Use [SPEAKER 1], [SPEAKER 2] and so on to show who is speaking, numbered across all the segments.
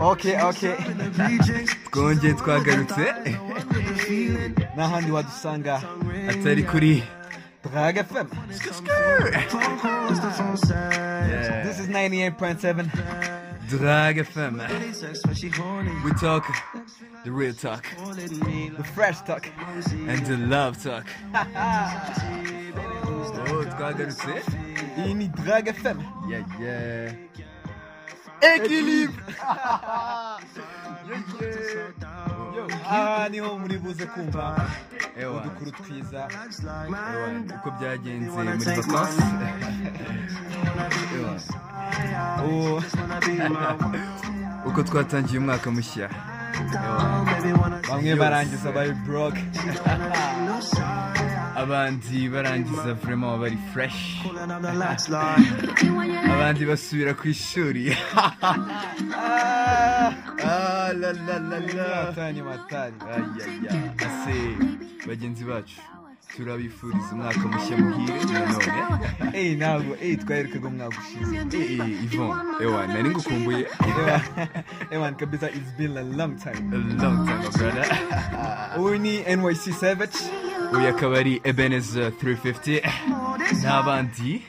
[SPEAKER 1] okay okay
[SPEAKER 2] twongeye twagarutse
[SPEAKER 1] n'ahandi wadusanga
[SPEAKER 2] atari kuri
[SPEAKER 1] drag fm this is 98.7
[SPEAKER 2] Eh, drag fm we talk the real talk
[SPEAKER 1] the fresh talk
[SPEAKER 2] and the love talk oh twagarutse
[SPEAKER 1] iyi ni drag fm
[SPEAKER 2] yeah yeah equilibre ah,
[SPEAKER 1] aha niho muri buze kumva
[SPEAKER 2] ewa
[SPEAKER 1] udukuru twiza
[SPEAKER 2] ewa uko byagenze muri vacances ewa Oh,
[SPEAKER 1] ubu
[SPEAKER 2] uko twatangiye umwaka mushya ewa
[SPEAKER 1] bamwe
[SPEAKER 2] Yose.
[SPEAKER 1] barangiza bari broke
[SPEAKER 2] abandi barangiza vraiment bari fresh abandi basubira ku ishuri Ah, la, la, la, la.
[SPEAKER 1] atani matari
[SPEAKER 2] Ayaya, ase bagenzi bacu turabifuriza umwaka mushya muhire nanone
[SPEAKER 1] eyi ntabwo eyi twaherukaga umwaka ushize
[SPEAKER 2] Eh, eh, Yvonne ewa nari ngukumbuye
[SPEAKER 1] Ewa- ewan kabisa it's been a long time
[SPEAKER 2] A long time brother
[SPEAKER 1] ubu ni nyc savage
[SPEAKER 2] uyu akaba ari ebeneza 350 n'abandi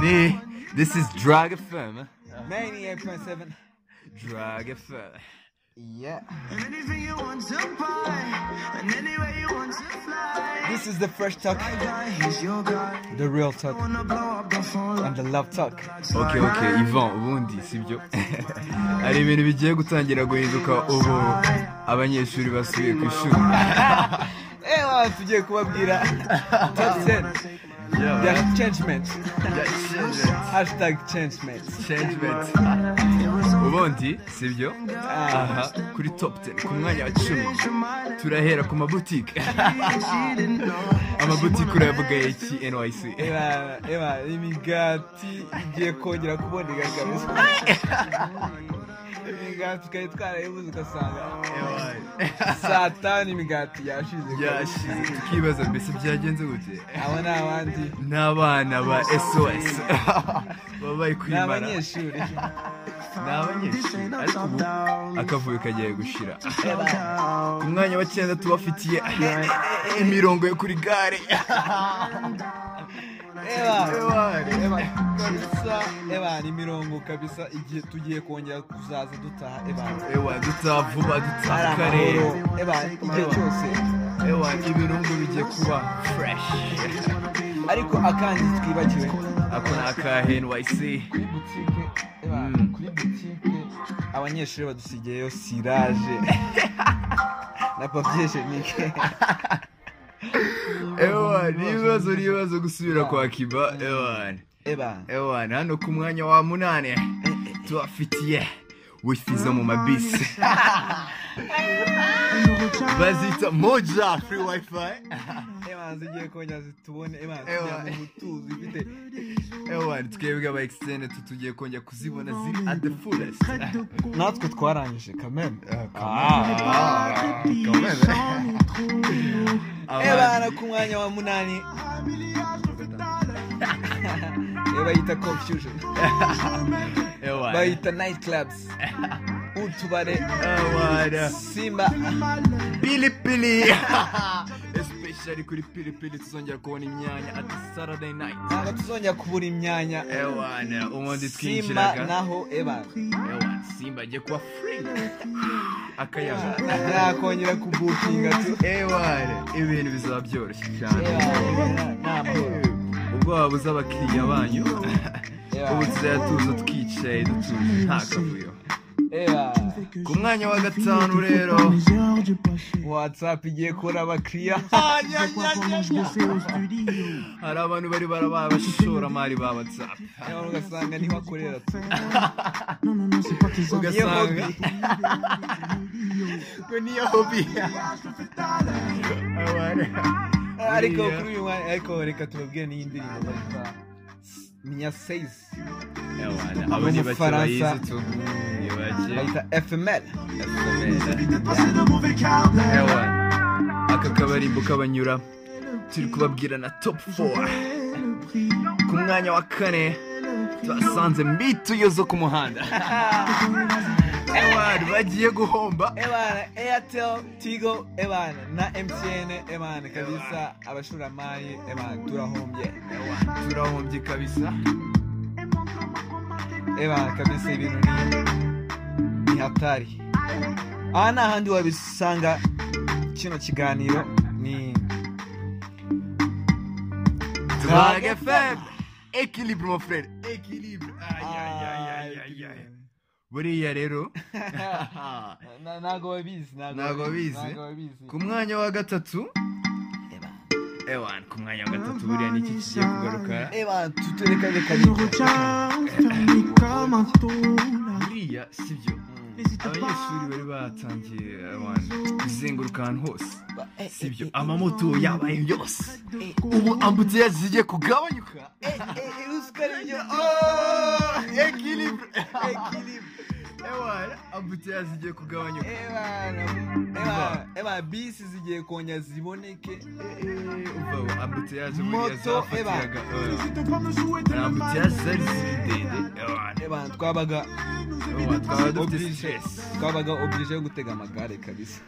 [SPEAKER 2] ni this is drug fm
[SPEAKER 1] 98.7
[SPEAKER 2] drug fm
[SPEAKER 1] yeah
[SPEAKER 3] Anything you want to buy, and anywhere you want to fly.
[SPEAKER 1] this is the fresh talk
[SPEAKER 3] My guy, he's your guy.
[SPEAKER 1] the real talk
[SPEAKER 3] Wanna blow up the phone
[SPEAKER 1] and the love talk
[SPEAKER 2] ok ok ivan ubundi sibyo hari ibintu bigiye gutangira guhinduka ubu abanyeshuri basubiye ku ishuri
[SPEAKER 1] ewa tugiye kubabwira top 10 yeah. changement hashtag changement
[SPEAKER 2] Changement. ubundi sibyo
[SPEAKER 1] Ah,
[SPEAKER 2] aha kuri top 10 ku mwanya wa cumi turahera ku mabutike amabutike urayavuga iki nyc
[SPEAKER 1] ewa ewa imigati igiye kongera kuboneka kabisa imigati twari twarayibuze ugasanga saa tanu imigati yashize kabisa.
[SPEAKER 2] yashize tukibaza mbese byagenze gute
[SPEAKER 1] abo ni abandi
[SPEAKER 2] n'abana ba sos baba bari
[SPEAKER 1] ni
[SPEAKER 2] kwimara
[SPEAKER 1] abanyeshuri
[SPEAKER 2] ni abanyeshuri ariko ubu akavuyo kagiye gushira ku mwanya wa cyenda tubafitiye imirongo yo kuri gare
[SPEAKER 1] ewa ewa kabisa ewa ni imirongo kabisa igihe tugiye kongera kuzaza dutaha ewa
[SPEAKER 2] ewa dutaha vuba dutaha
[SPEAKER 1] ari
[SPEAKER 2] kare
[SPEAKER 1] amahoro ewa igihe cyose
[SPEAKER 2] ewa ibirungo bigiye kuba fresh
[SPEAKER 1] ariko akandi twibagiwe
[SPEAKER 2] ako ni aka nyc
[SPEAKER 1] kuri butike ewa
[SPEAKER 2] Mm.
[SPEAKER 1] kuri butike abanyeshuri badusigiyeyo siraje na papiye jenike
[SPEAKER 2] ewa n'ibibazo n'ibibazo gusubira kwa kiba ewa
[SPEAKER 1] ewa
[SPEAKER 2] ewa hano ku mwanya wa munane tubafitiye wifi zo mu mabisi bazita moja free wifi
[SPEAKER 1] ewa zigiye kongera zitubone ewa
[SPEAKER 2] Ewa.
[SPEAKER 1] kugira ngo mutuzi ifite
[SPEAKER 2] ewa twebwe aba externe tutugiye kongera kuzibona ziri at the fullest
[SPEAKER 1] natwe twarangije kameme
[SPEAKER 2] Ah, kameme. Abandi-
[SPEAKER 1] ebana ku mwanya wa munani iyo Eh, bayita confusion
[SPEAKER 2] ewa
[SPEAKER 1] bayita night clubs utubare
[SPEAKER 2] abana.
[SPEAKER 1] simba
[SPEAKER 2] pilipili especially kuri pilipili tuzongera kubona imyanya at saturday night
[SPEAKER 1] ntabwo tuzongera kubura imyanya
[SPEAKER 2] ewana ubundi
[SPEAKER 1] simba
[SPEAKER 2] twinjiraga
[SPEAKER 1] naho ebana
[SPEAKER 2] Ewa, simba ajya kuba free akayaga
[SPEAKER 1] yakongera kubukinga tu
[SPEAKER 2] ewane ibintu bizaba byoroshye cyane
[SPEAKER 1] Ewa, n'amahoro
[SPEAKER 2] ubwo waba uzi abakiriya banyu
[SPEAKER 1] Ewa.
[SPEAKER 2] ubu tuzajya tuza twicaye dutuje nta kavuyo
[SPEAKER 1] eba
[SPEAKER 2] ku mwanya wa gatanu rero
[SPEAKER 1] whatsapp igiye kubura abakiriya
[SPEAKER 2] hari abantu bari barabaye abashoramari ba whatsapp
[SPEAKER 1] Ewa, ugasanga niho akorera tu Niyo
[SPEAKER 2] ugasanga
[SPEAKER 1] hobby.
[SPEAKER 2] ngo niyo hobi
[SPEAKER 1] ariko kuri uyu mwanya ariko reka tubabwire n'iyi ndirimbo bayita minya seize
[SPEAKER 2] abo ni bake
[SPEAKER 1] Umufaransa.
[SPEAKER 2] bayizi tu ni bake
[SPEAKER 1] bayita fml
[SPEAKER 2] ewa aka kabarimbo kabanyura turi kubabwira na top 4 ku mwanya wa kane twasanze mbituyo zo ku muhanda agiye guhomba
[SPEAKER 1] ebana airtel tigo ebana na mtn ebana kabisa abashoramari ebana turahombye
[SPEAKER 2] turahombye kabisa
[SPEAKER 1] ebana kabisa ibintu ni- ni hatari aha ni ahandi wabisanga kino kiganiro ni
[SPEAKER 2] Drag FM Equilibre mon frère Equilibre Aïe aïe aïe ayi ayi Buriya rero
[SPEAKER 1] Ah, Na- ntago babizi
[SPEAKER 2] Ntago babizi.
[SPEAKER 1] ntago babizi
[SPEAKER 2] ku mwanya wa gatatu
[SPEAKER 1] Ebana.
[SPEAKER 2] Ewan ku mwanya wa gatatu buriya niki kigiye kugaruka
[SPEAKER 1] ebana tutureka reka
[SPEAKER 3] Nous
[SPEAKER 1] reka.
[SPEAKER 3] refermés comme un tour.
[SPEAKER 2] buriya sibyo
[SPEAKER 1] Mm.
[SPEAKER 3] N'hésite
[SPEAKER 2] abanyeshuri bari batangiye Ewan kuzenguruka ahantu hose
[SPEAKER 1] Ba- eh, eh,
[SPEAKER 2] sibyo
[SPEAKER 1] eh,
[SPEAKER 2] amamoto yabaye yose
[SPEAKER 1] eh,
[SPEAKER 2] ubu ambutiyaje zigiye kugabanyuka
[SPEAKER 1] eh, eh, eh, uzi ko ari byo
[SPEAKER 2] Oh, Equilibre
[SPEAKER 1] Oh, Equilibre.
[SPEAKER 2] Ewan ambutiyaje zigiye kugabanyuka
[SPEAKER 1] Eh, Ebana, ebana, ebana, bisi zigiye kongera ziboneke Eh,
[SPEAKER 2] Umva ambutiyaje buriya
[SPEAKER 1] moto
[SPEAKER 2] zafatiraga eh.
[SPEAKER 1] ebana
[SPEAKER 2] hari ambutiyaje zari ziri ndende Ewan
[SPEAKER 1] ebana twabaga
[SPEAKER 2] Ewan Eh, twaba dufite
[SPEAKER 1] Oblige.
[SPEAKER 2] stress
[SPEAKER 1] twabaga oblige yo gutega amagare kabisa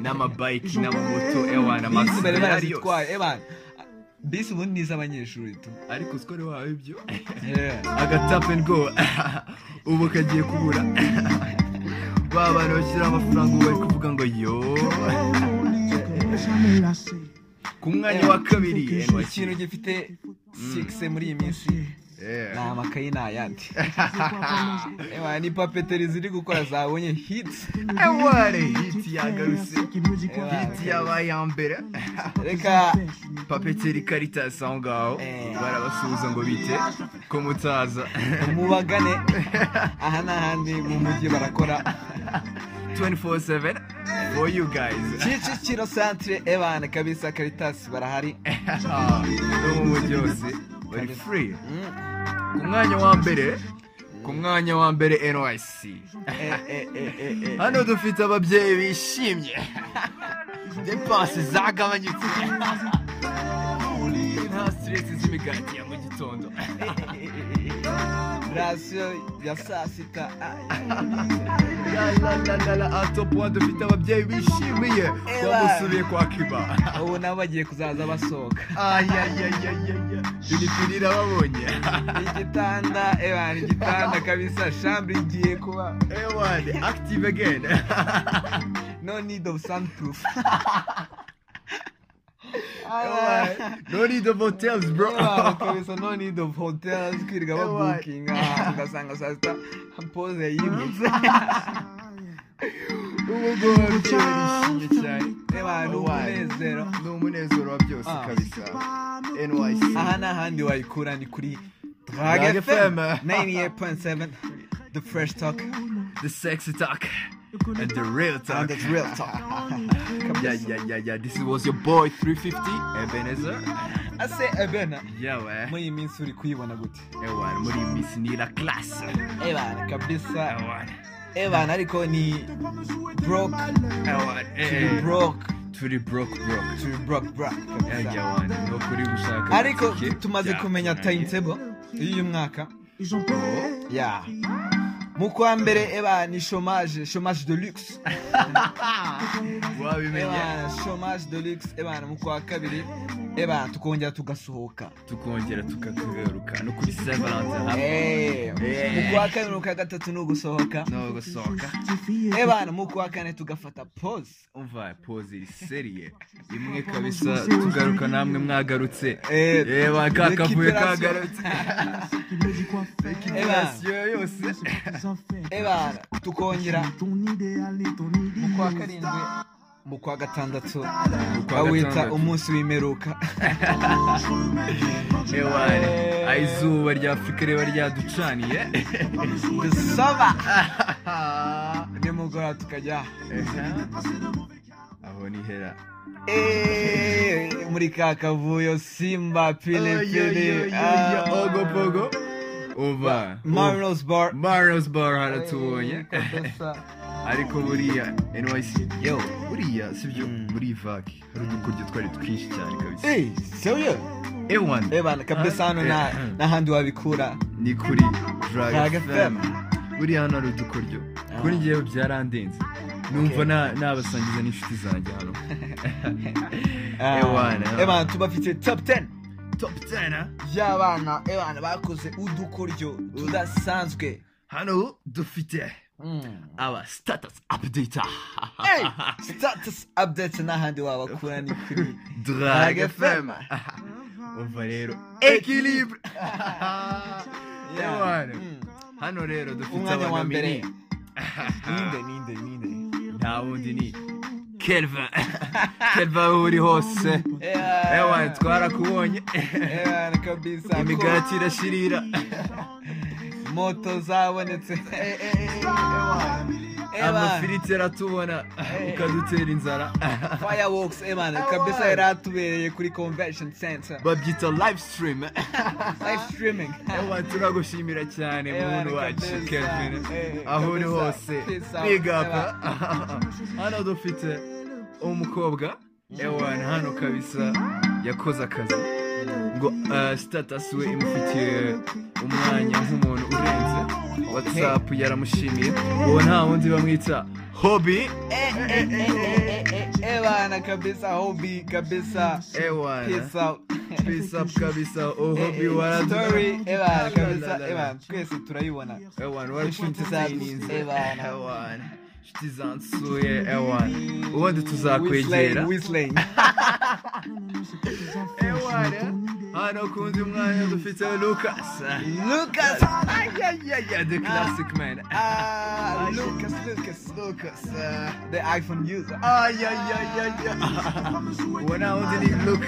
[SPEAKER 2] n'amabayiki n'amamoto Eh, ewa
[SPEAKER 1] bisi bari
[SPEAKER 2] n'amasigari yose
[SPEAKER 1] barazitwaye ebana bisi ubundi ni iz'abanyeshuri tu
[SPEAKER 2] ariko siko rero wawe ibyo
[SPEAKER 1] Yeah.
[SPEAKER 2] agatapu and go ubu kagiye kubura ba bantu bashyira amafaranga ubu bari kuvuga ngo yo
[SPEAKER 3] jamais lasser.
[SPEAKER 2] ku mwanya wa kabiri
[SPEAKER 1] Ku kintu gifite sigise muri iyi minsi ni
[SPEAKER 2] Yeah.
[SPEAKER 1] amakayi ni ayandi
[SPEAKER 3] C'est quoi vraiment ce
[SPEAKER 1] Ewa, Eh, ni papeteri ziri gukora zabonye hits
[SPEAKER 3] que le
[SPEAKER 2] Eware
[SPEAKER 3] délire
[SPEAKER 2] hiti Eh, yagarutse
[SPEAKER 3] qui me dit
[SPEAKER 1] Eh
[SPEAKER 3] quoi
[SPEAKER 1] ouais.
[SPEAKER 3] faire.
[SPEAKER 2] hiti yabaye iya mbere
[SPEAKER 1] reka
[SPEAKER 2] papeteri karitasi aho ngaho
[SPEAKER 1] Eh.
[SPEAKER 2] barabasuhuza ngo bite ko mutaza
[SPEAKER 1] mubagane aha n'ahandi mu mujyi barakora
[SPEAKER 2] 24/7 for you guys
[SPEAKER 1] kicukiro santire ebana kabisa karitasi barahari Eh,
[SPEAKER 2] no mu mujyi hose bari free
[SPEAKER 1] Mm.
[SPEAKER 2] ku mwanya wa mbere ku mwanya wa mbere nyc
[SPEAKER 1] Eh, eh, eh, eh, eh.
[SPEAKER 2] hano dufite ababyeyi bishimye depanse zagabanyutse nta stress z'imigati ya mu gitondo
[SPEAKER 1] rasiyo ya saa sita Ah,
[SPEAKER 2] lalalala atopuwa dufite ababyeyi bishimiye bamusubiye kwa kiba
[SPEAKER 1] ya- ubu nabo bagiye kuzaza basohoka
[SPEAKER 2] ayayayayaya tunipirira babonye
[SPEAKER 1] igitanda ebana igitanda kabisa shambure igiye kuba
[SPEAKER 2] ewane active again
[SPEAKER 1] no need of soundproof
[SPEAKER 2] Ewan, no need of hotels bro
[SPEAKER 1] Ewa, kabisa no need of hotels kwirirwa babukinga ugasanga saa sita pose yimutse
[SPEAKER 2] ubu ngubu ababyeyi barishimye cyane
[SPEAKER 1] Ewa, ni umunezero
[SPEAKER 2] ni umunezero wa byose
[SPEAKER 1] Ah.
[SPEAKER 2] kabisa nyc
[SPEAKER 1] aha n'ahandi wayikura ni kuri
[SPEAKER 2] Drag
[SPEAKER 1] drag
[SPEAKER 2] FM.
[SPEAKER 1] fm 98.7 the fresh talk
[SPEAKER 2] the sexy talk and the real
[SPEAKER 1] and
[SPEAKER 2] talk
[SPEAKER 1] the Ah, real talk
[SPEAKER 2] yeah yeah yeah yeah this was your boy 350 ebenezer
[SPEAKER 1] ase ebena
[SPEAKER 2] yawe
[SPEAKER 1] muri iyi minsi uri kuyibona gute
[SPEAKER 2] ewan muri iyi minsi ni la classe
[SPEAKER 1] ebana kabisa
[SPEAKER 2] ewan
[SPEAKER 1] ebana Eh, ariko ni broke
[SPEAKER 2] ewan
[SPEAKER 1] turi broke
[SPEAKER 2] turi broke broke
[SPEAKER 1] turi Eh, broke broke
[SPEAKER 2] Eh,
[SPEAKER 1] kabisa
[SPEAKER 2] yawan ni ukuri gushaka
[SPEAKER 1] ariko
[SPEAKER 2] itike
[SPEAKER 1] tumaze
[SPEAKER 2] byatunaniye.
[SPEAKER 1] kumenya timetable y'uyu mwaka
[SPEAKER 3] Ils ont peur.
[SPEAKER 1] ya mu kwa mbere eba eh, ni chômage chômage de luxe
[SPEAKER 2] wabimenye
[SPEAKER 1] eba chômage de luxe eba mu kwa kabiri eba tukongera tugasohoka
[SPEAKER 2] tukongera tukakagaruka no kuri saint valentin hamwe
[SPEAKER 1] Eh, mu kwa kabiri mu kwa gatatu ni ugusohoka
[SPEAKER 2] no gusohoka
[SPEAKER 3] Justifié.
[SPEAKER 1] ebana mu kwa kane tugafata pose
[SPEAKER 2] umva pose iseriye imwe kabisa tugaruka namwe mwagarutse
[SPEAKER 1] Eh,
[SPEAKER 2] yewe kakavuye
[SPEAKER 1] récupération.
[SPEAKER 2] kagarutse
[SPEAKER 3] Qui me dit quoi faire.
[SPEAKER 2] Récupération yose
[SPEAKER 3] C'est pas qu'ils ont fait.
[SPEAKER 1] ebana tukongera
[SPEAKER 3] Ton idéal et ton
[SPEAKER 1] mu kwa
[SPEAKER 3] idée.
[SPEAKER 1] karindwi mu kwa gatandatu
[SPEAKER 2] kwa
[SPEAKER 1] bawita
[SPEAKER 2] gatandatu.
[SPEAKER 1] umunsi w'imperuka
[SPEAKER 2] ewari izuba rya afurika riba ryaducaniye
[SPEAKER 1] dusaba nimugora tukajya
[SPEAKER 2] aho nihera
[SPEAKER 1] Eh, muri ka kavuyo simba Ah. pilipili
[SPEAKER 2] Ah, ogopogo uva
[SPEAKER 1] marinos bar
[SPEAKER 2] marinos bar haratubonye ariko buriya nyc yo buriya sibyo muri iyi vaki hari udukuryo twari twinshi cyane kabisa
[SPEAKER 1] serio
[SPEAKER 2] ewani Ah, Eh,
[SPEAKER 1] Eh,
[SPEAKER 2] hmm.
[SPEAKER 1] ebana kabisa hano nta- n'ahandi wabikura
[SPEAKER 2] ni kuri
[SPEAKER 1] Drag
[SPEAKER 2] drag Ah. fm
[SPEAKER 1] FM.
[SPEAKER 2] buriya hano hari udukoryo kuri ngewe byarandenze numva na- nabasangiza n'inshuti zanjye hano
[SPEAKER 1] Ah,
[SPEAKER 2] Ewana.
[SPEAKER 1] ebana tubafite top 10
[SPEAKER 2] top 10 ah.
[SPEAKER 1] y'abana ebana eh, bakoze udukoryo tudasanzwe
[SPEAKER 2] hano dufite
[SPEAKER 1] Mm.
[SPEAKER 2] aba status update ah,
[SPEAKER 1] Hey, status update n'ahandi wabakura ni kuri
[SPEAKER 2] drag Ah,
[SPEAKER 1] Drag
[SPEAKER 2] fm
[SPEAKER 1] FM.
[SPEAKER 2] umva rero equilibre Eh,
[SPEAKER 1] Yeah.
[SPEAKER 2] Ewana.
[SPEAKER 1] Mm.
[SPEAKER 2] hano rero dufite
[SPEAKER 1] umwanya wa mbere
[SPEAKER 2] abanamini
[SPEAKER 1] ninde ninde ninde
[SPEAKER 2] nta wundi ni kelvin kelvin aho uri hose
[SPEAKER 1] Eh,
[SPEAKER 2] ewana twarakubonye
[SPEAKER 1] Ewana eh, kabisa
[SPEAKER 2] imigati irashirira
[SPEAKER 1] Ko moto zabonetse Eh, Ewana.
[SPEAKER 2] amafiriti aratubona
[SPEAKER 1] Eh.
[SPEAKER 2] ukadutera inzara
[SPEAKER 1] fireworks eh, ebana kabisa yaratubereye kuri convention center
[SPEAKER 2] babyita live stream
[SPEAKER 1] live streaming
[SPEAKER 2] ewa turagushimira cyane muntu wacu
[SPEAKER 1] kabisa.
[SPEAKER 2] kelvin
[SPEAKER 1] Eh,
[SPEAKER 2] aho uri
[SPEAKER 1] kabisa.
[SPEAKER 2] hose
[SPEAKER 1] Peace out. Eh,
[SPEAKER 2] big up hano dufite umukobwa ewana hano kabisa yakoze akazi ngo eh, status we imufitiye umwanya nk'umuntu urenze
[SPEAKER 1] Eh.
[SPEAKER 2] whatsapp yaramushimiye uwo nta wundi bamwita hobby
[SPEAKER 1] ebana kabisa hobi kabisa
[SPEAKER 2] Eh, ewana
[SPEAKER 1] peace out
[SPEAKER 2] peace up kabisa
[SPEAKER 1] Eh,
[SPEAKER 2] Oh, ohobi
[SPEAKER 1] story eh,
[SPEAKER 2] waraduha
[SPEAKER 1] ebana
[SPEAKER 2] La, la,
[SPEAKER 1] kabisa
[SPEAKER 2] la.
[SPEAKER 1] ebana twese turayibona
[SPEAKER 2] ewana
[SPEAKER 1] Inshuti
[SPEAKER 2] waratutsininze
[SPEAKER 1] zansuye, Ewana.
[SPEAKER 2] ewana inshuti zansuye ewana ubundi tuzakwegera
[SPEAKER 1] Whistling, whistling.
[SPEAKER 2] ewana hano eh? kundi mwanya dufite lucas
[SPEAKER 1] Lucas
[SPEAKER 2] ayayaya the classic man
[SPEAKER 1] ah Lucas Lucas Lucas uh, the iPhone user
[SPEAKER 2] ayayayaya uwo nta wundi ni lucas